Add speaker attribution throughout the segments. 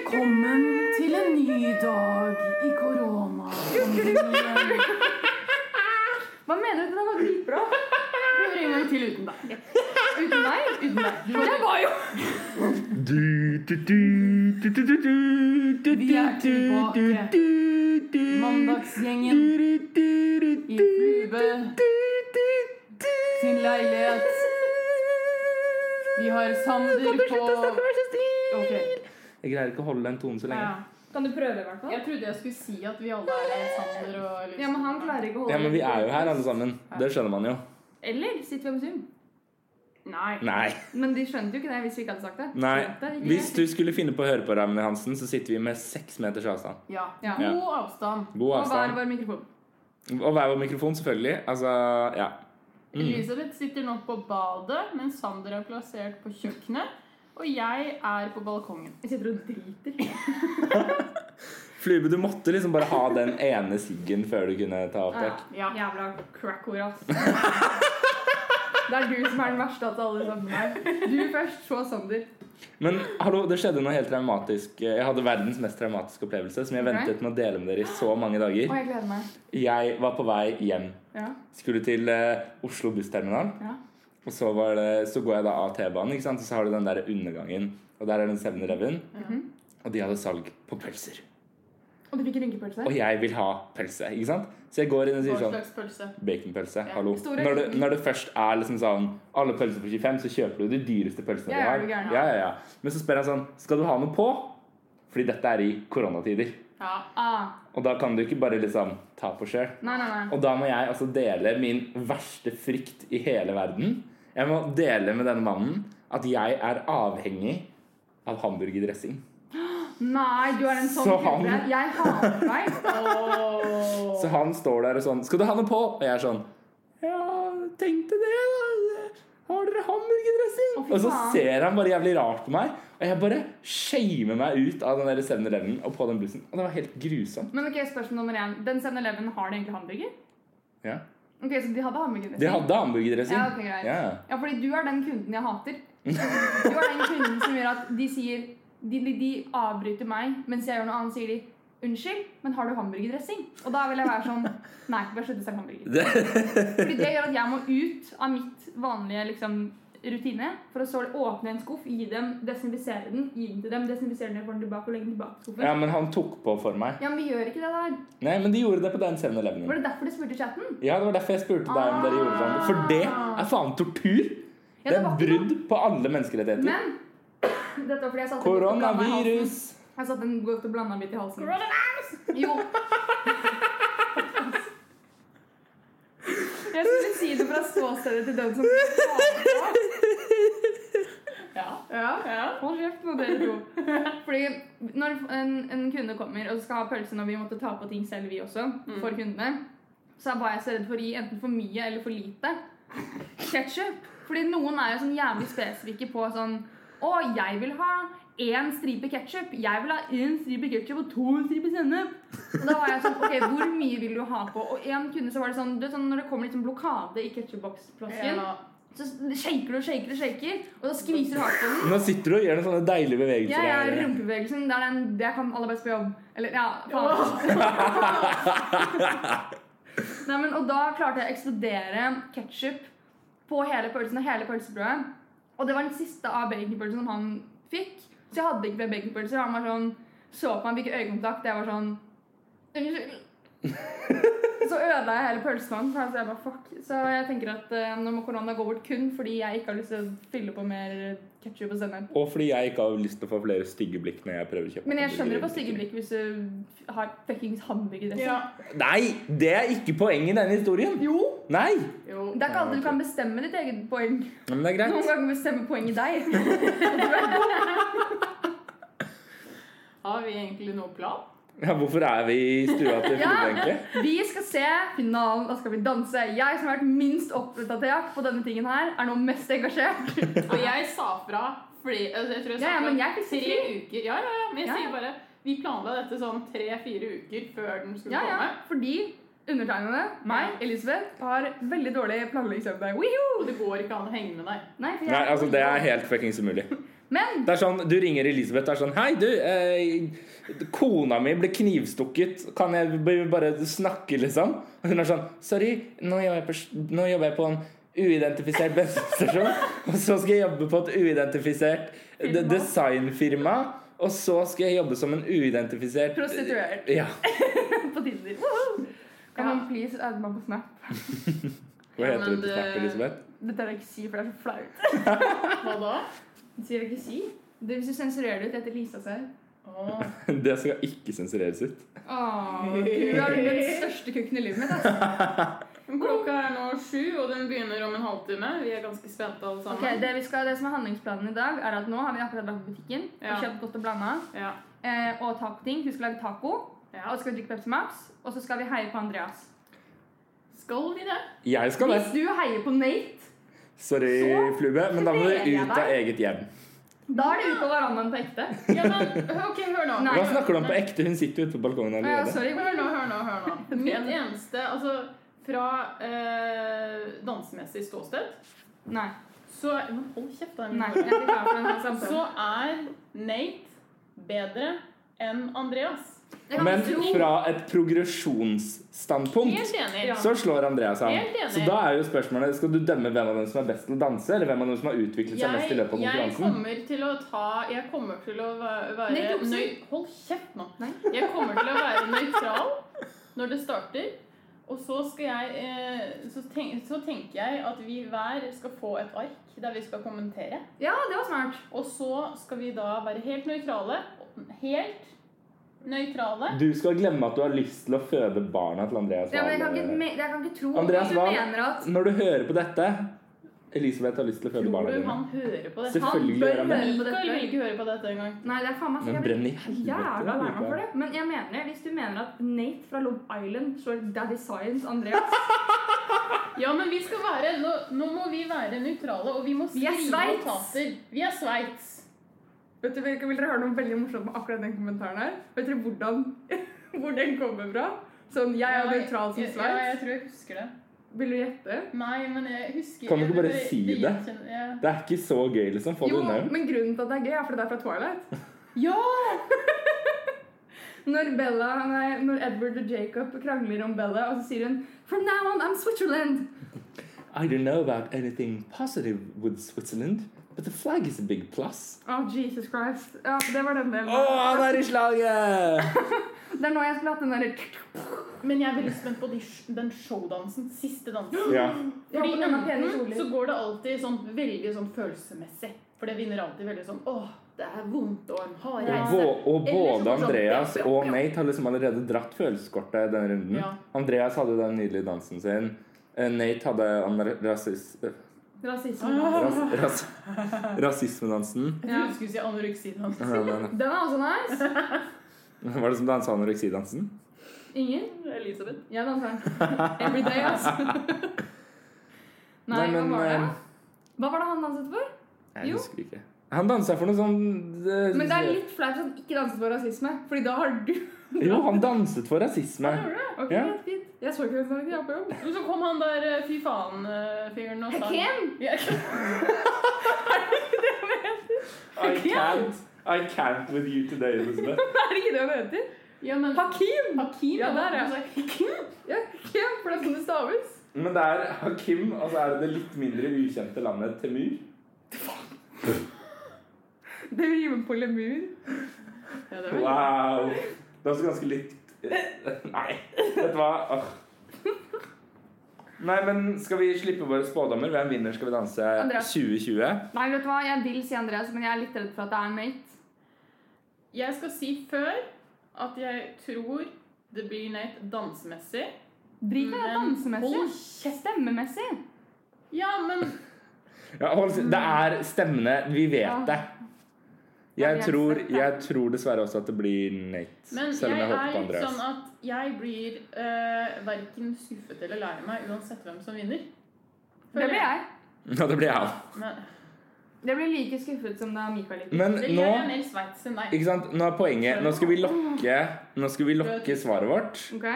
Speaker 1: Velkommen til en ny dag i koronapandemien.
Speaker 2: Hva mener du? Det var dritbra.
Speaker 1: Prøver en gang til uten deg.
Speaker 2: Uten meg? Uten meg. Det var jo
Speaker 3: Du, du, du, du, du, du, du, du,
Speaker 1: Vi er tilbake.
Speaker 3: du, du, du,
Speaker 1: Mandagsgjengen i Flube sin leilighet. Vi har Sander på Ok.
Speaker 3: Jeg greier ikke å holde den tonen
Speaker 1: Ja.
Speaker 3: så lenge.
Speaker 2: Kan du prøve, i hvert fall?
Speaker 1: Jeg trodde jeg skulle si at vi alle er Sander og liksom.
Speaker 2: Ja, men han klarer ikke å holde
Speaker 3: Ja, men vi er jo her alle sammen. Det skjønner man jo.
Speaker 2: Eller sitter vi på Zoom? Nei.
Speaker 3: Nei.
Speaker 2: Men de skjønte jo ikke det hvis vi ikke hadde sagt det.
Speaker 3: Nei.
Speaker 2: Skjønte ikke
Speaker 3: Hvis
Speaker 2: det.
Speaker 3: du skulle finne på å høre på Raymond Johansen, så sitter vi med seks meters avstand.
Speaker 1: Ja.
Speaker 2: Ja.
Speaker 1: God avstand.
Speaker 3: God
Speaker 2: Og hver
Speaker 3: avstand.
Speaker 2: vår mikrofon.
Speaker 3: Og hver vår mikrofon, selvfølgelig. Altså, ja. Mm.
Speaker 1: Elisabeth sitter nå på badet, mens Sander er plassert på kjøkkenet. Og jeg er på balkongen.
Speaker 2: Jeg sitter og driter.
Speaker 3: Flube, du måtte liksom bare ha den ene siggen før du kunne ta opptak.
Speaker 1: Ja.
Speaker 2: Jævla crack-hore, ass. Det er du som er den verste av alle sammen her. Du først, så Sander.
Speaker 3: Men hallo, det skjedde noe helt traumatisk. Jeg hadde verdens mest traumatiske opplevelse som jeg
Speaker 2: Ok.
Speaker 3: ventet med å dele med dere i så mange dager.
Speaker 2: Å, jeg gleder meg.
Speaker 3: Jeg var på vei hjem.
Speaker 2: Ja.
Speaker 3: Skulle til eh, Oslo bussterminal.
Speaker 2: Ja.
Speaker 3: Og så, var det, så går jeg da av T-banen, ikke sant? og så har du den der undergangen. Og der er den 7-Eleven.
Speaker 2: Mhm.
Speaker 3: Og de hadde salg på pølser.
Speaker 2: Og du fikk rynkepølse?
Speaker 3: Og jeg vil ha pølse, ikke sant? Så jeg går inn og sier
Speaker 1: Hva
Speaker 3: sånn
Speaker 1: slags pølse?
Speaker 3: Baconpølse,
Speaker 1: Ja,
Speaker 3: hallo.
Speaker 2: store-
Speaker 3: Når det, når det først er liksom sånn alle pølser på 25, så kjøper du de dyreste pølsene
Speaker 2: Ja, ja, er du
Speaker 3: du
Speaker 2: gæren,
Speaker 3: har.
Speaker 2: ja.
Speaker 3: Ja, ja, ja. Men så spør jeg sånn Skal du ha noe på? Fordi dette er i koronatider.
Speaker 1: Ja.
Speaker 2: Ah.
Speaker 3: Og da kan du ikke bare liksom ta på sjøl.
Speaker 2: Nei, nei, nei.
Speaker 3: Og da må jeg altså dele min verste frykt i hele verden. Jeg må dele med denne mannen at jeg er avhengig av hamburgerdressing.
Speaker 2: Nei, du er en sånn
Speaker 3: Så
Speaker 2: type.
Speaker 3: han-
Speaker 2: Jeg hater deg.
Speaker 1: Åh.
Speaker 3: Så han står der og sånn 'Skal du ha noe på?' Og jeg er sånn 'Ja, tenkte det, da. Har dere hamburgerdressing?'
Speaker 2: Å, fy
Speaker 3: og så
Speaker 2: faen.
Speaker 3: ser han bare jævlig rart på meg, og jeg bare shamer meg ut av den der 7-Eleven og på den bussen. Og det var helt grusomt.
Speaker 2: Men ok, spørsmål nummer én. Den 7-Eleven, har de egentlig hamburger?
Speaker 3: Ja.
Speaker 2: Ok, Så de hadde hamburger?
Speaker 3: De hadde hamburgerdressing.
Speaker 2: Ja, ok, greit.
Speaker 3: ja.
Speaker 2: Ja, fordi du er den kunden jeg hater. Du er den kunden som gjør at de sier De, de, de avbryter meg mens jeg gjør noe annet, sier de Unnskyld, men har du hamburgerdressing? Og da vil jeg være sånn Nei, bare slutt å snakke hamburger. Fordi det gjør at jeg må ut av mitt vanlige liksom, rutine for å så åpne en skuff, gi dem, desinfisere den, gi den til dem, desinfisere den, få den tilbake og legge den tilbake i skuffen.
Speaker 3: ja, men han tok på for meg.
Speaker 2: Ja, men vi gjør ikke det der.
Speaker 3: Nei, men de gjorde det på den 7-Eleven.
Speaker 2: Var det derfor du spurte i chatten?
Speaker 3: Ja, det var derfor jeg spurte deg om dere gjorde sånn. For det er faen tortur!
Speaker 2: Ah. Ja, det
Speaker 3: Det er
Speaker 2: var ikke
Speaker 3: brudd på alle menneskerettigheter.
Speaker 2: Men dette var fordi jeg satt en godt og blandet i
Speaker 3: Koronavirus!
Speaker 2: halsen. Jeg satt en godt og blanda bit i halsen. Jo. Jeg skulle si det fra ståstedet til den som
Speaker 1: Ja.
Speaker 2: Ja, hold kjeft på dere to. Fordi når en, en kunde kommer og skal ha pølse når vi måtte ta på ting selv, vi også, for kundene, så var jeg så redd for å gi enten for mye eller for lite ketsjup. Fordi noen er jo sånn jævlig spesifikke på sånn Å, jeg vil ha én stripe ketsjup. Jeg vil ha én stripe ketsjup og to striper sennep. Og da var jeg sånn Ok, hvor mye vil du ha på? Og en kunde så var det sånn Du vet sånn når det kommer litt sånn blokade i ketsjupboksflasken, så shaker du og shaker og shaker, og da skviser du hardt på den.
Speaker 3: Nå sitter du og gjør noen sånne deilige
Speaker 2: Ja,
Speaker 3: bevegelser.
Speaker 2: ja,
Speaker 3: her.
Speaker 2: rumpebevegelsen. Det er den det kan alle best på jobb. Eller, ja, faen. Nei, men, og da klarte jeg å eksplodere ketsjup på hele pølsen og hele pølsebrødet. Og det var den siste av baconpølsen som han fikk. Så jeg hadde ikke flere baconpølser. Han var sånn, så på meg, fikk øyekontakt. Jeg var sånn Unnskyld. Så ødela jeg hele pølsemannen. for altså, jeg bare, fuck. Så jeg tenker at eh, nå må korona gå bort kun fordi jeg ikke har lyst til å fylle på mer ketsjup og sennep.
Speaker 3: Og fordi jeg ikke har lyst til å få flere stygge blikk når jeg prøver å kjøpe
Speaker 2: Men jeg skjønner det på
Speaker 3: hamburger.
Speaker 2: stygge blikk hvis du har fuckings hamburgerdressing.
Speaker 1: Ja.
Speaker 3: Nei, det er ikke poenget i denne historien!
Speaker 2: Jo!
Speaker 3: Nei!
Speaker 1: Jo.
Speaker 2: Det er ikke alltid du kan bestemme ditt eget poeng.
Speaker 3: Men det er greit.
Speaker 2: Noen ganger bestemmer poenget deg.
Speaker 1: Har vi egentlig noe plan?
Speaker 3: Ja, hvorfor er vi i stua til
Speaker 2: Ja.
Speaker 3: Frode, egentlig?
Speaker 2: Vi skal se finalen. Da skal vi danse. Jeg som har vært minst oppdatert på denne tingen her, er nå mest engasjert.
Speaker 1: Og jeg sa fra fordi altså, Jeg tror jeg sa
Speaker 2: Ja, ja,
Speaker 1: fra
Speaker 2: men jeg fikk
Speaker 1: tre
Speaker 2: fri.
Speaker 1: uker. Ja, ja, ja. Men jeg
Speaker 2: Ja, ja.
Speaker 1: sier bare Vi planla dette sånn tre-fire uker før den skulle
Speaker 2: Ja, ja.
Speaker 1: komme.
Speaker 2: Fordi undertegnede, meg, Elisabeth, har veldig dårlig planleggingsevne. Wiho!
Speaker 1: Og det går ikke an å henge med deg.
Speaker 2: Nei, for jeg-
Speaker 3: Nei, altså, det er altså, helt fuckings umulig.
Speaker 2: Men
Speaker 3: Det er sånn, Du ringer Elisabeth og er sånn Hei, du. Eh, kona mi ble knivstukket. Kan jeg b- bare snakke, liksom? Og hun er sånn Sorry, nå jobber jeg på, s- nå jobber jeg på en uidentifisert bensinstasjon. Og så skal jeg jobbe på et uidentifisert d-
Speaker 4: Firma.
Speaker 3: designfirma. Og så skal jeg jobbe som en uidentifisert
Speaker 2: prostituert
Speaker 3: Ja.
Speaker 2: på Tinder. Woho! Kan
Speaker 4: Ja.
Speaker 2: man please adde meg på Snap?
Speaker 3: Hva
Speaker 4: Ja,
Speaker 3: heter du
Speaker 4: men
Speaker 3: til Snap,
Speaker 4: det-
Speaker 3: Elisabeth?
Speaker 2: Dette vil jeg ikke si, for det er så flaut.
Speaker 4: Hva da?
Speaker 2: Det sier jeg ikke si. Det, hvis du sensurerer det ut etter Lisa seg
Speaker 4: Åh.
Speaker 3: Det skal ikke sensureres ut.
Speaker 2: Åh, du har den største kukken i livet mitt. altså. ass.
Speaker 4: Klokka er nå sju, og den begynner om en halvtime. Vi er ganske spente alle sammen.
Speaker 2: Ok, det, vi skal, det som er handlingsplanen i dag, er at nå har vi akkurat vært på butikken
Speaker 4: Ja.
Speaker 2: og kjøpt godt og blanda.
Speaker 4: Ja.
Speaker 2: Eh, og tacoting. Vi skal lage taco, og
Speaker 4: ja.
Speaker 2: så skal vi drikke Pepsi Max. Og så skal vi heie på Andreas.
Speaker 4: Skal vi det?
Speaker 3: Jeg skal det.
Speaker 2: Hvis du heier på Nate,
Speaker 3: Sorry, Flube, men da må
Speaker 2: Sorry,
Speaker 3: du
Speaker 2: jeg
Speaker 3: ut av eget hjem.
Speaker 2: da er det ut på verandaen på ekte.
Speaker 4: Ja, men ok, hør nå.
Speaker 2: Nei.
Speaker 3: Hva snakker du om på ekte? Hun sitter jo ute på balkongen
Speaker 2: Å ja,
Speaker 3: allerede.
Speaker 2: sorry.
Speaker 4: Hør nå, hør nå, hør nå. Mitt eneste Altså, fra eh, dansemessig ståsted
Speaker 2: Nei.
Speaker 4: så Men Hold kjeft, da.
Speaker 2: Nei,
Speaker 4: Emilie.
Speaker 2: jeg er ikke klar for denne
Speaker 4: Så
Speaker 2: samtalen.
Speaker 4: er Nate bedre enn Andreas.
Speaker 2: Jeg kan
Speaker 3: Men
Speaker 2: tro-
Speaker 3: fra et progresjonsstandpunkt
Speaker 4: Helt enig.
Speaker 2: Ja.
Speaker 3: så slår Andreas
Speaker 4: Helt
Speaker 3: an.
Speaker 4: enig.
Speaker 3: Så da er jo spørsmålet Skal du dømme hvem av dem som er best til å danse, eller hvem av dem som har utviklet seg mest i løpet av
Speaker 4: jeg
Speaker 3: konkurransen?
Speaker 4: kommer til å ta Jeg kommer til å væ-
Speaker 2: Nei,
Speaker 4: være
Speaker 2: ikke oppsi.
Speaker 4: nøy, Hold kjeft nå.
Speaker 2: Nei.
Speaker 4: Jeg kommer til å være nøytral når det starter. Og så skal jeg eh, så, tenk, så tenker jeg at vi hver skal få et ark der vi skal kommentere.
Speaker 2: Ja, det var smart.
Speaker 4: Og så skal vi da være helt nøytrale. Helt nøytrale.
Speaker 3: Du skal glemme at du har lyst til å føde barna til Andreas
Speaker 2: Ja, men jeg, kan
Speaker 3: Wahl.
Speaker 2: ikke, me- jeg kan ikke tro
Speaker 3: Andreas
Speaker 2: at du
Speaker 3: Wahl.
Speaker 2: mener at
Speaker 3: Når du hører på dette Elisabeth har lyst til å føde
Speaker 4: Tror
Speaker 3: barna
Speaker 4: du
Speaker 3: dine.
Speaker 4: han hører på dette?
Speaker 3: Selvfølgelig
Speaker 2: bør
Speaker 3: gjør han det.
Speaker 2: høre på dette.
Speaker 4: Mikael vil ikke høre på dette engang.
Speaker 2: Nei, det er faen meg
Speaker 3: Men
Speaker 2: jeg blir
Speaker 3: brenn i helvete,
Speaker 2: Jævla verna for
Speaker 3: Mikael.
Speaker 2: det. Men jeg mener, hvis du mener at Nate fra Love Island slår Daddy Science Andreas
Speaker 4: Ja, men vi skal være Nå, nå må vi være nøytrale, og vi må
Speaker 2: Vi er
Speaker 4: skrive
Speaker 2: Sveits.
Speaker 4: notater. Vi er Sveits.
Speaker 2: Vet du, Vil dere høre noe veldig morsomt med akkurat den kommentaren her? Vet dere hvordan hvor den kommer fra? Sånn, jeg er
Speaker 4: Nei,
Speaker 2: nøytral som
Speaker 4: ja, Ja, jeg
Speaker 2: Sveits.
Speaker 4: tror jeg husker det.
Speaker 2: Vil du gjette?
Speaker 4: Nei, men jeg husker
Speaker 3: Kan du ikke bare
Speaker 4: jeg-
Speaker 3: si det?
Speaker 4: gjenkjenner- Ja.
Speaker 3: Det er ikke så gøy, liksom. Få det
Speaker 2: Jo,
Speaker 3: unna. jo.
Speaker 2: men grunnen til at det er gøy, er fordi det er fra Twilight.
Speaker 4: ja!
Speaker 2: Når, Bella, nei, når Edward og Jacob krangler om Bella, og så sier hun From now on, I'm Switzerland.
Speaker 3: I don't know about anything positive with Switzerland, but the flag is a big plus.
Speaker 2: Å, Jesus Christ. Ja, det var den delen.
Speaker 3: Å, han er i slaget!
Speaker 2: Det er nå jeg skulle hatt den derre
Speaker 4: Men jeg er veldig spent på de, sh- den showdansen. Siste dansen.
Speaker 3: Ja.
Speaker 4: Fordi
Speaker 2: på denne pene
Speaker 4: enten
Speaker 2: kjolen.
Speaker 4: så går det alltid sånn veldig sånn følelsesmessig. For det vinner alltid veldig sånn Åh, det er vondt og en hard
Speaker 3: Og,
Speaker 4: reise.
Speaker 3: bå- og
Speaker 4: Eller så
Speaker 3: både
Speaker 4: bare sånn,
Speaker 3: Andreas
Speaker 4: ja, ja,
Speaker 3: og
Speaker 4: ja.
Speaker 3: Nate har liksom allerede dratt følelseskortet denne runden.
Speaker 4: Ja.
Speaker 3: Andreas hadde den nydelige dansen sin. Eh, Nate hadde an- rasis, eh,
Speaker 2: rasisme.
Speaker 3: ras, ras, rasismedansen.
Speaker 4: Sånn.
Speaker 3: Eh,
Speaker 4: Jeg trodde du skulle si anoreksidansen.
Speaker 3: Ja, den-
Speaker 2: Den er også nice.
Speaker 3: Var det som dansa anoreksidansen?
Speaker 2: Ingen?
Speaker 4: Elisabeth.
Speaker 2: Jeg danser den. Every day, altså. Nei, hva var det?
Speaker 3: eh,
Speaker 2: Hva var det han danset for?
Speaker 3: Jeg
Speaker 2: Jo.
Speaker 3: husker ikke. Han dansa for noe sånn eh,
Speaker 2: Men det er litt flaut at han ikke danset for rasisme, Fordi da har du
Speaker 3: Jo, han danset for rasisme.
Speaker 2: Ok,
Speaker 3: Ja.
Speaker 2: fint. Jeg så ikke den sangen jeg var på jobb.
Speaker 4: Men så kom han der eh, fy faen-fyren og sa
Speaker 2: Ken!
Speaker 4: Ja,
Speaker 3: I can't, I can't with you today, Elisabeth.
Speaker 2: Er det ikke det han heter?
Speaker 4: Ja, men
Speaker 2: Hakim!
Speaker 4: Hakim?
Speaker 2: Ja, der, ja.
Speaker 4: Du sa Hakim?
Speaker 2: Ja, Ken, for det er sånn det staves.
Speaker 3: Men det er Hakim, og så er det det litt mindre ukjente landet Temur.
Speaker 2: Det rimer på lemur.
Speaker 4: Ja, det var
Speaker 3: Wow! Det er også ganske likt Nei, vet du hva? Åh. Nei, men skal vi slippe våre spådommer? Hvem vinner Skal vi danse
Speaker 2: Andreas.
Speaker 3: 2020?
Speaker 2: Nei, vet du hva, jeg vil si Andreas, men jeg er litt redd for at det er Nate.
Speaker 4: Jeg skal si før at jeg tror det blir Nate dansemessig.
Speaker 2: Drit i det
Speaker 4: Men hold
Speaker 2: dansemessig. Stemmemessig.
Speaker 4: Ja, men
Speaker 3: Ja, hold, det er stemmene. Vi
Speaker 2: Ja.
Speaker 3: vet det. Jeg
Speaker 2: Ja, vi
Speaker 3: tror,
Speaker 2: vet det.
Speaker 3: jeg tror dessverre også at det blir Nate.
Speaker 4: Men
Speaker 3: Selv om
Speaker 4: jeg
Speaker 3: jeg håper
Speaker 4: er
Speaker 3: på
Speaker 4: litt
Speaker 3: Andreas.
Speaker 4: sånn at jeg blir uh, verken skuffet eller lei meg uansett hvem som vinner.
Speaker 2: Det blir jeg.
Speaker 3: Ja, det blir jeg òg.
Speaker 4: Men,
Speaker 2: Jeg blir like skuffet som da Mikael gikk.
Speaker 3: Men
Speaker 4: det
Speaker 3: nå
Speaker 4: gjør jeg mer Sveits enn deg.
Speaker 3: ikke sant? Nå er poenget Nå skal vi lokke, nå skal vi lokke svaret vårt.
Speaker 2: Ok?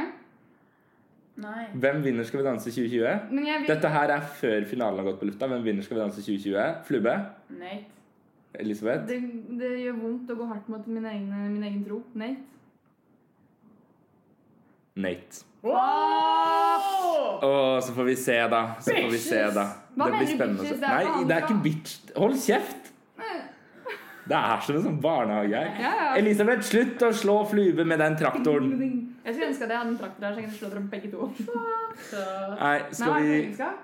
Speaker 4: Nei.
Speaker 3: Hvem vinner Skal vi danse 2020?
Speaker 2: Men jeg vil...
Speaker 3: Dette her er før finalen har gått på lufta. Hvem vinner Skal vi danse 2020? Flubbe?
Speaker 4: Nate.
Speaker 3: Elisabeth?
Speaker 2: Det, det gjør vondt å gå hardt mot min, egne, min egen tro. Nate.
Speaker 3: Nate.
Speaker 1: Wow!
Speaker 3: Å, så får vi se, da. Så får vi se, da.
Speaker 2: Hva mener
Speaker 3: det blir
Speaker 2: du
Speaker 3: spennende. å se.
Speaker 2: bitches? Det er
Speaker 3: Nei,
Speaker 2: faen
Speaker 3: det er ikke
Speaker 2: bra.
Speaker 3: bitch. Hold kjeft! Det er som en sånn barnehage her.
Speaker 2: Ja, ja.
Speaker 3: Elisabeth, slutt å slå flue med den traktoren.
Speaker 2: Jeg skulle ønske at jeg hadde en traktor her, så jeg kunne slå dere begge to.
Speaker 1: Så,
Speaker 2: Nei,
Speaker 3: Nei,
Speaker 2: hva er
Speaker 3: skal
Speaker 2: det
Speaker 3: vi
Speaker 2: på engelsk,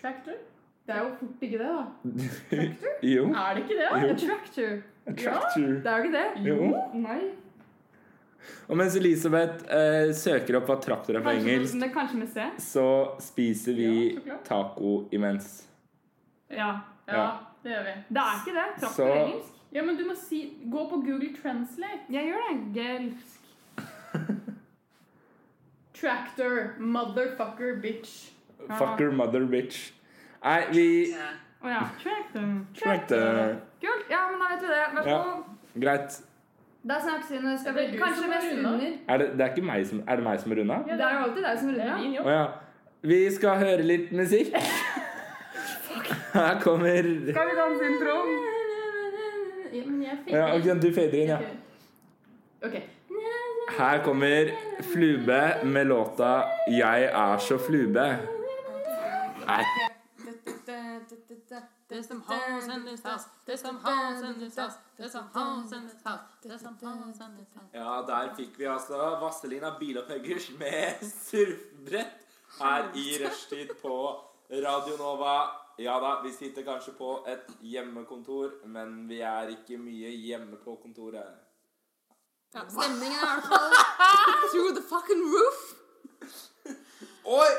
Speaker 1: tractor?
Speaker 2: da? Det er jo fort ikke det, da.
Speaker 3: Jo.
Speaker 1: Er det ikke det?
Speaker 3: Jo.
Speaker 2: A tractor.
Speaker 3: Tractor.
Speaker 2: Det er jo ikke det.
Speaker 3: Jo.
Speaker 2: Nei.
Speaker 3: Og mens Elisabeth eh, søker opp hva traktor er på
Speaker 2: Kanskje,
Speaker 3: engelsk,
Speaker 2: men kanskje med C?
Speaker 3: så spiser vi
Speaker 1: Ja, så klart.
Speaker 3: taco imens.
Speaker 2: Ja.
Speaker 1: Ja, det gjør vi.
Speaker 2: Det er ikke det.
Speaker 3: Så-
Speaker 2: Traktor er engelsk.
Speaker 1: Ja, men du må si Gå på Google Translate.
Speaker 2: Jeg gjør det. Gelsk.
Speaker 1: Tractor. Motherfucker bitch.
Speaker 3: Fucker mother bitch. Nei, vi
Speaker 2: Å ja. Tractor.
Speaker 3: Tractor.
Speaker 2: Kult. Ja, men da vet vi det. Vær så
Speaker 3: Ja.
Speaker 2: god.
Speaker 3: Greit.
Speaker 2: Da snakkes vi. når Skal
Speaker 1: Det
Speaker 2: vi
Speaker 1: er du
Speaker 2: kanskje
Speaker 1: som er
Speaker 2: mest
Speaker 1: unna.
Speaker 2: under?
Speaker 3: Er det, det er ikke meg som Er det meg som er runda?
Speaker 1: Ja,
Speaker 2: Det er jo alltid deg som
Speaker 1: Det er
Speaker 2: runder.
Speaker 1: din
Speaker 2: ja.
Speaker 1: jobb.
Speaker 3: Å ja. Vi skal høre litt musikk. Her kommer ja,
Speaker 2: Skal vi danse introen?
Speaker 1: Ja, men jeg fikk
Speaker 3: ok, Du fader inn, ja.
Speaker 1: Ok.
Speaker 3: Her kommer Flube med låta 'Jeg er så flube'. Nei.
Speaker 5: There's some hoes in this house. There's some hoes in this house. There's some hoes in this house. There's some hoes in this house.
Speaker 3: Ja, der fikk vi altså Vazelina Bilopphøggers med surfbrett her i rushtid på Radio Nova. Ja da, vi sitter kanskje på et hjemmekontor, men vi er ikke mye hjemme på kontoret.
Speaker 5: Ja, stemningen er i hvert fall through the fucking roof.
Speaker 3: Oi!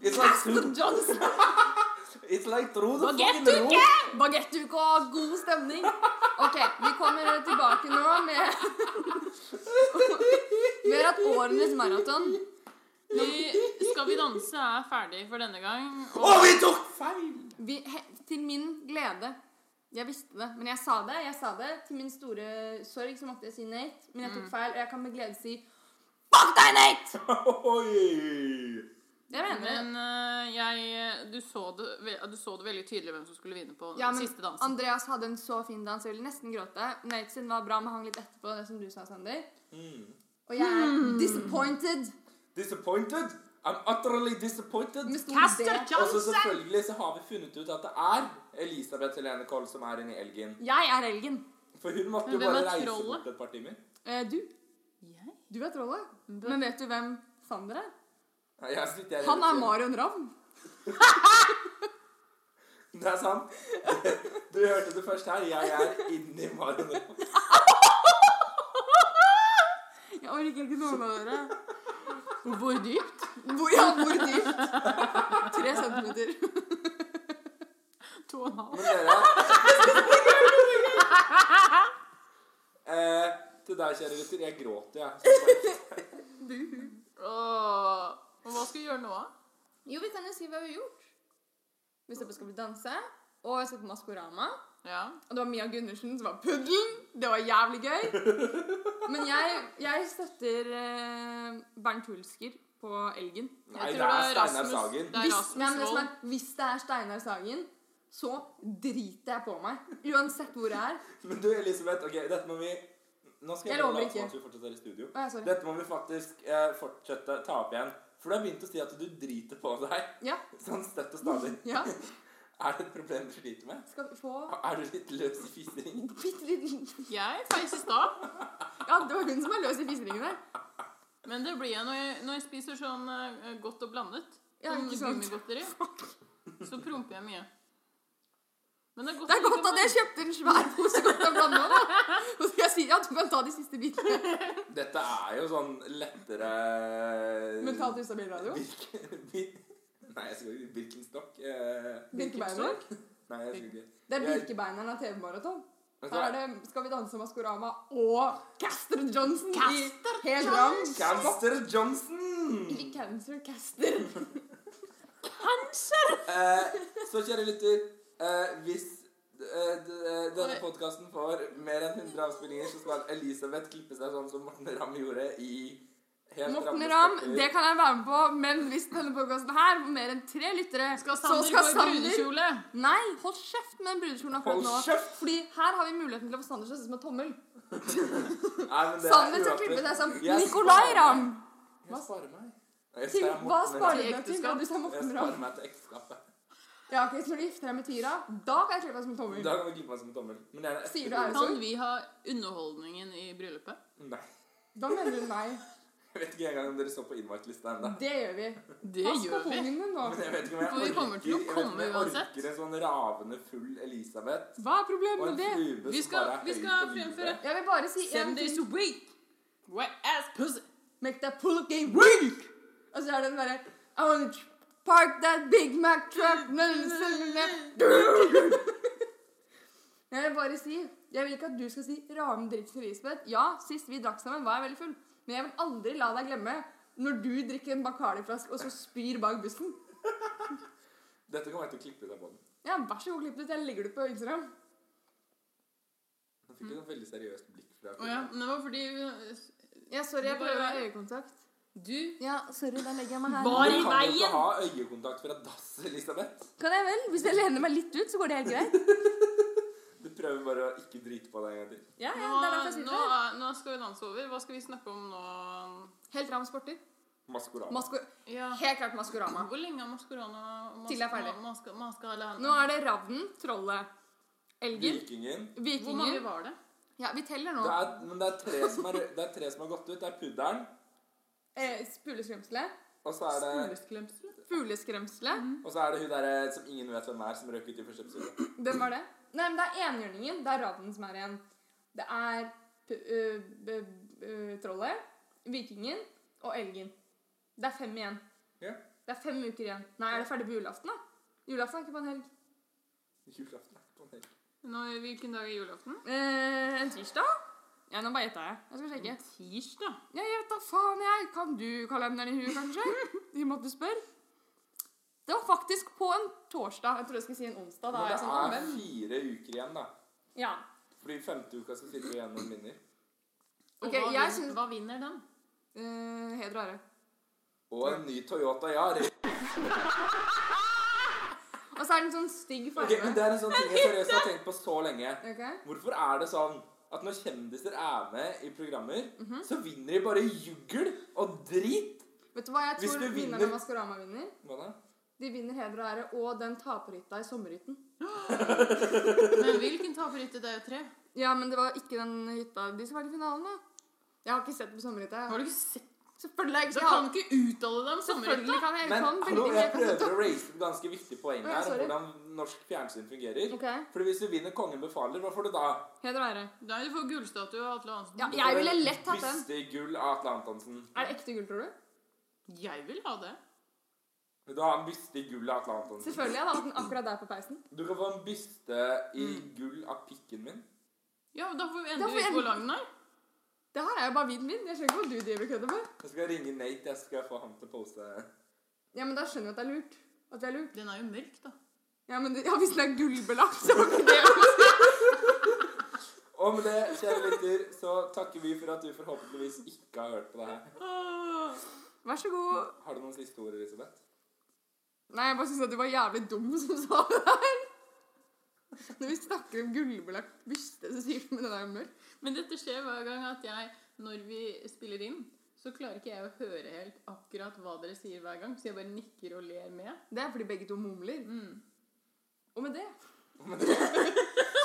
Speaker 3: It's like,
Speaker 5: Aston Johnson.
Speaker 3: it's like through the fucking roof.
Speaker 5: Bagettuke! Bagettuke og god stemning. Ok, vi kommer tilbake nå med Vi har hatt årenes maraton.
Speaker 1: Skal vi danse er ferdig for denne gang.
Speaker 3: Å, vi tok feil!
Speaker 5: Vi, he, til min glede. Jeg visste det, men jeg sa det. jeg sa det Til min store sorg så måtte jeg si Nate. Men jeg
Speaker 4: Mm.
Speaker 5: tok feil, og jeg kan med glede si Fuck deg, Nate!
Speaker 3: Oi!
Speaker 5: Jeg mener det.
Speaker 4: Men eh, jeg du så, det, ve- du så det veldig tydelig hvem som skulle vinne på
Speaker 5: Ja, men
Speaker 4: siste dansen.
Speaker 5: Andreas hadde en så fin dans. Jeg ville nesten gråte. Nate sin var bra, men hang litt etterpå, det som du sa, Sander.
Speaker 4: Mm.
Speaker 5: Og jeg er disappointed.
Speaker 3: Disappointed? I'm utterly disappointed.
Speaker 5: Med stor
Speaker 4: Caster
Speaker 5: D.
Speaker 3: Og så
Speaker 4: Johnson!
Speaker 3: selvfølgelig så har vi funnet ut at det er Elisabeth Helene Koll som er inne i elgen.
Speaker 5: Jeg er elgen.
Speaker 3: For hun måtte jo
Speaker 4: Men hvem
Speaker 3: bare
Speaker 4: er
Speaker 3: reise
Speaker 4: trollet?
Speaker 3: bort et par timer.
Speaker 5: Eh, du. Du er trollet. Men vet du hvem Sander er?
Speaker 3: Nei, Jeg sitter her
Speaker 5: Han
Speaker 3: hele
Speaker 5: er
Speaker 3: tiden.
Speaker 5: Marion Ravn.
Speaker 3: Det er sant. Du hørte det først her. Jeg er inni Marion Ravn.
Speaker 5: Jeg orker ikke noen av dere.
Speaker 4: Hvor dypt?
Speaker 5: Hvor, ja, hvor dypt? Tre centimeter.
Speaker 4: To og en halv.
Speaker 3: Men dere eh, Til deg, kjære gutter. Jeg gråter, jeg.
Speaker 4: Åh, og hva skal vi gjøre nå?
Speaker 5: Jo, vi kan jo si hva vi har gjort. Vi ser på Skal vi danse, og jeg ser på Maskorama.
Speaker 4: Ja.
Speaker 5: Og det var Mia Gundersen som var puddelen. Det var jævlig gøy. Men jeg, jeg støtter eh, Bernt Hulsker på Elgen.
Speaker 3: Nei,
Speaker 4: Jeg
Speaker 3: det
Speaker 4: tror
Speaker 3: er Steinar
Speaker 4: Rasmus-
Speaker 3: Sagen.
Speaker 4: Det er
Speaker 5: Hvis, nei, men det
Speaker 4: Rasmus
Speaker 5: som
Speaker 4: Wold.
Speaker 5: er, hvis det er Steinar Sagen, så driter jeg på meg. Uansett hvor jeg er.
Speaker 3: Men du, Elisabeth, ok, dette må vi Nå skal jeg,
Speaker 5: Jeg
Speaker 3: bare
Speaker 5: lover
Speaker 3: late som
Speaker 5: ikke.
Speaker 3: at vi fortsatt er i studio.
Speaker 5: Å, jeg, sånn, sorry.
Speaker 3: Dette må vi faktisk eh, fortsette ta opp igjen. For du har begynt å si at du driter på deg
Speaker 5: Ja,
Speaker 3: sånn støtt og stadig.
Speaker 5: ja.
Speaker 3: Er det et problem du sliter med?
Speaker 5: Skal vi få
Speaker 3: Er du litt løs i fisering?
Speaker 5: bitte liten
Speaker 4: Jeg feis i stad,
Speaker 5: Ja, det var hun som er løs i fiseringen der.
Speaker 4: men det blir jeg når jeg, når jeg spiser sånn eh, godt og blandet.
Speaker 5: Ja,
Speaker 4: Sånn
Speaker 5: ikke sant.
Speaker 4: gummigodteri. Så promper jeg mye. Men det er godt,
Speaker 5: Det er
Speaker 4: å
Speaker 5: godt
Speaker 4: ikke
Speaker 5: at jeg kjøpte en svær pose godt av blanda nå. Og så skal jeg si ja, du kan ta de siste bitene.
Speaker 3: Dette er jo sånn lettere
Speaker 5: Mentalt ustabil radio.
Speaker 3: Birken- bir- Nei, jeg skal ikke Birkenstock. eh,
Speaker 5: Birkebeiner.
Speaker 3: Nei, jeg skal ikke
Speaker 5: Det er Birkebeineren av TV-maraton.
Speaker 3: Vet du
Speaker 5: Her er
Speaker 3: hva?
Speaker 5: det Skal vi danse Maskorama og Caster Johnson i helt ram.
Speaker 3: Cancer Johnson!
Speaker 5: Ikke Cancer, Caster.
Speaker 3: Eh, så kjære lytter, eh, hvis eh, d- eh, denne podkasten får mer enn 100 avspillinger, så skal Elisabeth klippe seg sånn som Morten Ramm gjorde i Helt
Speaker 5: Morten
Speaker 3: ramme
Speaker 5: Ramm,
Speaker 3: stakker.
Speaker 5: det kan jeg være med på, men hvis denne podkasten her får mer enn tre lyttere,
Speaker 4: Skal
Speaker 5: så
Speaker 4: Sander gå
Speaker 5: skal
Speaker 4: i
Speaker 5: Sander
Speaker 4: brudekjole?
Speaker 5: Nei, hold kjeft med den brudekjolen akkurat
Speaker 3: Hold
Speaker 5: nå.
Speaker 3: kjeft!
Speaker 5: Fordi her har vi muligheten til å få Sander til å se ut som en tommel.
Speaker 3: Nei, men det er
Speaker 5: Sander skal
Speaker 3: uaktuelt.
Speaker 5: klippe deg som
Speaker 3: Jeg
Speaker 5: Nicolay
Speaker 3: sparer
Speaker 5: Ramm.
Speaker 3: meg. Jeg sparer meg. Nei, jeg
Speaker 5: Til
Speaker 3: sparer
Speaker 5: hva
Speaker 3: Morten Ramm.
Speaker 5: sparer du deg til? Ja,
Speaker 4: ekteskap.
Speaker 5: Du
Speaker 3: Jeg
Speaker 5: sa Morten
Speaker 3: sparer
Speaker 5: Ramm.
Speaker 3: meg til ekteskapet.
Speaker 5: Ja, ok, Så når du gifter deg med Tyra, da kan jeg klippe deg som en tommel.
Speaker 3: Da kan du klippe meg som en tommel. Men jeg er
Speaker 5: Sier du er-
Speaker 4: Kan vi ha underholdningen i bryllupet?
Speaker 3: Nei.
Speaker 5: Da mener du nei.
Speaker 3: Jeg vet ikke engang om dere står på invite-lista ennå.
Speaker 5: Det gjør vi.
Speaker 4: Det
Speaker 5: Pass på
Speaker 4: gjør vi.
Speaker 5: pungen din nå.
Speaker 3: Men jeg vet ikke om jeg
Speaker 4: For vi kommer til
Speaker 3: orker- jeg vet
Speaker 4: å
Speaker 3: ikke om jeg
Speaker 4: komme uansett.
Speaker 3: orker en sånn ravende full Elisabeth
Speaker 5: Hva er
Speaker 3: og
Speaker 5: problemet
Speaker 3: en
Speaker 5: med det?
Speaker 3: flue
Speaker 4: Vi
Speaker 3: som
Speaker 4: skal-
Speaker 3: bare er
Speaker 4: vi
Speaker 3: høy
Speaker 4: skal
Speaker 3: på livet.
Speaker 4: fremføre-
Speaker 5: Jeg vil bare si én
Speaker 4: Seven days
Speaker 5: ting.
Speaker 4: a week. Wet ass pussy.
Speaker 5: Make that pull game weak! Og så er det den derre I wanna park that Big Mac truck na, na, na, na. Jeg vil bare si Jeg vil ikke at du skal si Ramen drikker Elisabeth. Ja, sist vi drakk sammen, var jeg veldig full. Men jeg vil aldri la deg glemme når du drikker en Bacardi-flaske og så spyr bak bussen.
Speaker 3: Dette kommer jeg til å klippe ut av båten.
Speaker 5: Ja, Vær så god, klipp det ut. Jeg legger det ut på Instagram.
Speaker 3: Nå fikk jeg et veldig seriøst blikk fra
Speaker 4: Mm. Å ja, men det var fordi
Speaker 5: Ja, sorry, jeg
Speaker 4: Du bare-
Speaker 5: prøver å ha øyekontakt.
Speaker 4: du
Speaker 5: Ja, sorry, da legger jeg meg her.
Speaker 4: Var
Speaker 3: Du
Speaker 4: i
Speaker 3: kan jo ikke
Speaker 4: veien!
Speaker 3: ha øyekontakt fra dass, Elisabeth.
Speaker 5: Kan jeg vel? Hvis jeg lener meg litt ut, så går det helt greit.
Speaker 3: Du prøver bare å ikke drite på deg en gang til.
Speaker 5: Ja, ja,
Speaker 4: Nå,
Speaker 5: det er derfor jeg sitter
Speaker 4: nå,
Speaker 5: her.
Speaker 4: er- nå skal vi danse over. Hva skal vi snakke om nå?
Speaker 5: Helt ram sporter.
Speaker 3: Maskorama.
Speaker 5: Masko
Speaker 4: Ja.
Speaker 5: Helt klart Maskorama.
Speaker 4: Hvor lenge har Maskorama mas-
Speaker 5: Til det er ferdig.
Speaker 4: mas- Maskorama
Speaker 5: Nå er det ravnen, trollet, elgen,
Speaker 3: Vikingen.
Speaker 4: Hvor mange
Speaker 5: vikingen
Speaker 4: var det?
Speaker 5: Ja, vi teller nå.
Speaker 3: Det er, men det er, tre som er, det er tre som har gått ut. Det er pudderen,
Speaker 5: Eh, Spuleskremselet.
Speaker 3: og så er det,
Speaker 4: Skoleskremsel?
Speaker 5: Fugleskremselet.
Speaker 3: og så er det hun derre som ingen vet hvem er, som røk ut i første episode.
Speaker 5: Hvem var det? Nei, men det er enhjørningen. Det er ravnen som er igjen. Det er p ø, b- ø, trollet, vikingen og elgen. Det er fem igjen.
Speaker 3: Ja.
Speaker 5: Det er fem uker igjen. Nei, er det ferdig på julaften, da? Julaften er ikke på en helg.
Speaker 3: Julaften er på en helg.
Speaker 4: Nå, hvilken dag er julaften?
Speaker 5: Eh, en tirsdag? Ja, nå bare gjetta jeg. Jeg skal sjekke.
Speaker 4: Tirsdag.
Speaker 5: Ja, jeg vet da faen jeg. Kan du kalenderen i huet, kanskje? I og med at du spør. Det var faktisk på en torsdag. Jeg trodde jeg skulle si en onsdag. Da
Speaker 3: Men
Speaker 5: er
Speaker 3: det
Speaker 5: jeg sånn, «Å,
Speaker 3: er
Speaker 5: hvem?»
Speaker 3: fire uker igjen, da.
Speaker 5: Ja.
Speaker 3: Fordi femte uka så sitter vi igjen og vinner.
Speaker 4: Og
Speaker 5: Ok,
Speaker 4: hva,
Speaker 5: jeg
Speaker 4: vin-
Speaker 5: synes-
Speaker 4: hva vinner den?
Speaker 5: Uh, heder og ære.
Speaker 3: Og en ny Toyota Yari.
Speaker 5: Og så er den sånn stygg
Speaker 3: Ok,
Speaker 5: farge.
Speaker 3: men det er en sånn ting jeg seriøst har tenkt på så lenge.
Speaker 5: Ok?
Speaker 3: Hvorfor er det sånn at når kjendiser er med i programmer,
Speaker 5: Mhm.
Speaker 3: så vinner de bare jugl og drit?
Speaker 5: Vet du hva jeg
Speaker 3: Hvis
Speaker 5: tror
Speaker 3: du
Speaker 5: vinnerne
Speaker 3: vinner-
Speaker 5: av Maskorama vinner?
Speaker 3: Hva da?
Speaker 5: De vinner heder og ære og den taperhytta i sommerhytten.
Speaker 4: Men hvilken taperhytte? Det er jo tre.
Speaker 5: Ja, men det var ikke den hytta de som var i finalen, da. Jeg har ikke sett på sommerhytta.
Speaker 4: Har
Speaker 5: jeg.
Speaker 4: du ikke sett
Speaker 5: Selvfølgelig
Speaker 4: Så
Speaker 5: har
Speaker 4: kan
Speaker 5: jeg
Speaker 4: du ikke uttale deg om sommerhytta.
Speaker 5: Selvfølgelig kan jeg
Speaker 3: Men
Speaker 5: kan
Speaker 3: hallo,
Speaker 5: veldig mye.
Speaker 3: jeg prøver å raise et ganske viktig poeng
Speaker 5: Å, ja,
Speaker 3: her.
Speaker 5: sorry.
Speaker 3: Hvordan norsk fjernsyn fungerer.
Speaker 5: Ok,
Speaker 3: Fordi hvis du vinner Kongen befaler, hva får du da?
Speaker 5: heder og ære.
Speaker 4: Da er det for gullstatue og Atle Hansen.
Speaker 5: Ja, jeg ville lett hatt den.
Speaker 3: Byste i gull av Atle Antonsen.
Speaker 5: Er det ekte gull, tror du?
Speaker 4: Jeg vil ha det.
Speaker 3: Vil du ha en byste i gull av Atle Antonsen?
Speaker 5: Selvfølgelig. Jeg hadde hatt den akkurat der på peisen.
Speaker 3: Du kan få en byste i
Speaker 5: Mm.
Speaker 3: gull av pikken min.
Speaker 4: Ja, men Da får vi
Speaker 5: Da får vi
Speaker 4: endelig vite
Speaker 5: endelig-
Speaker 4: hvor lang den er.
Speaker 5: Det her er jo bare vinen min. Jeg skjønner ikke hva du driver og kødder med.
Speaker 3: Jeg skal ringe Nate. Jeg skal få han til å pose
Speaker 5: Ja, men da skjønner jeg at det er lurt. At det er lurt.
Speaker 4: Den er jo mørk, da.
Speaker 5: Ja, men det, ja, hvis den er gullbelagt, så var ikke det
Speaker 3: Og med det, kjære lytter, så takker vi for at du forhåpentligvis ikke har hørt på det her.
Speaker 5: Vær så god.
Speaker 3: Har du noen siste ord, Elisabeth?
Speaker 5: Nei, jeg bare syns at du var jævlig dum som sa det her. Når vi snakker om gullbelagt byste, så sier du men den er jo mørk.
Speaker 4: Men dette skjer hver gang at jeg, når vi spiller inn, så klarer ikke jeg å høre helt akkurat hva dere sier hver gang, så jeg bare nikker og ler med.
Speaker 5: Det er fordi begge to mumler.
Speaker 4: Mm.
Speaker 5: Og med det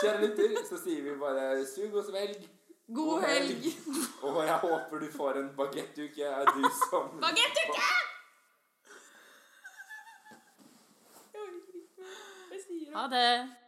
Speaker 3: Kjære lytter, så sier vi bare sug og svelg.
Speaker 5: god helg!
Speaker 3: Og jeg håper du får en bagettuke. Er du som
Speaker 4: Bagettuke! Ha det.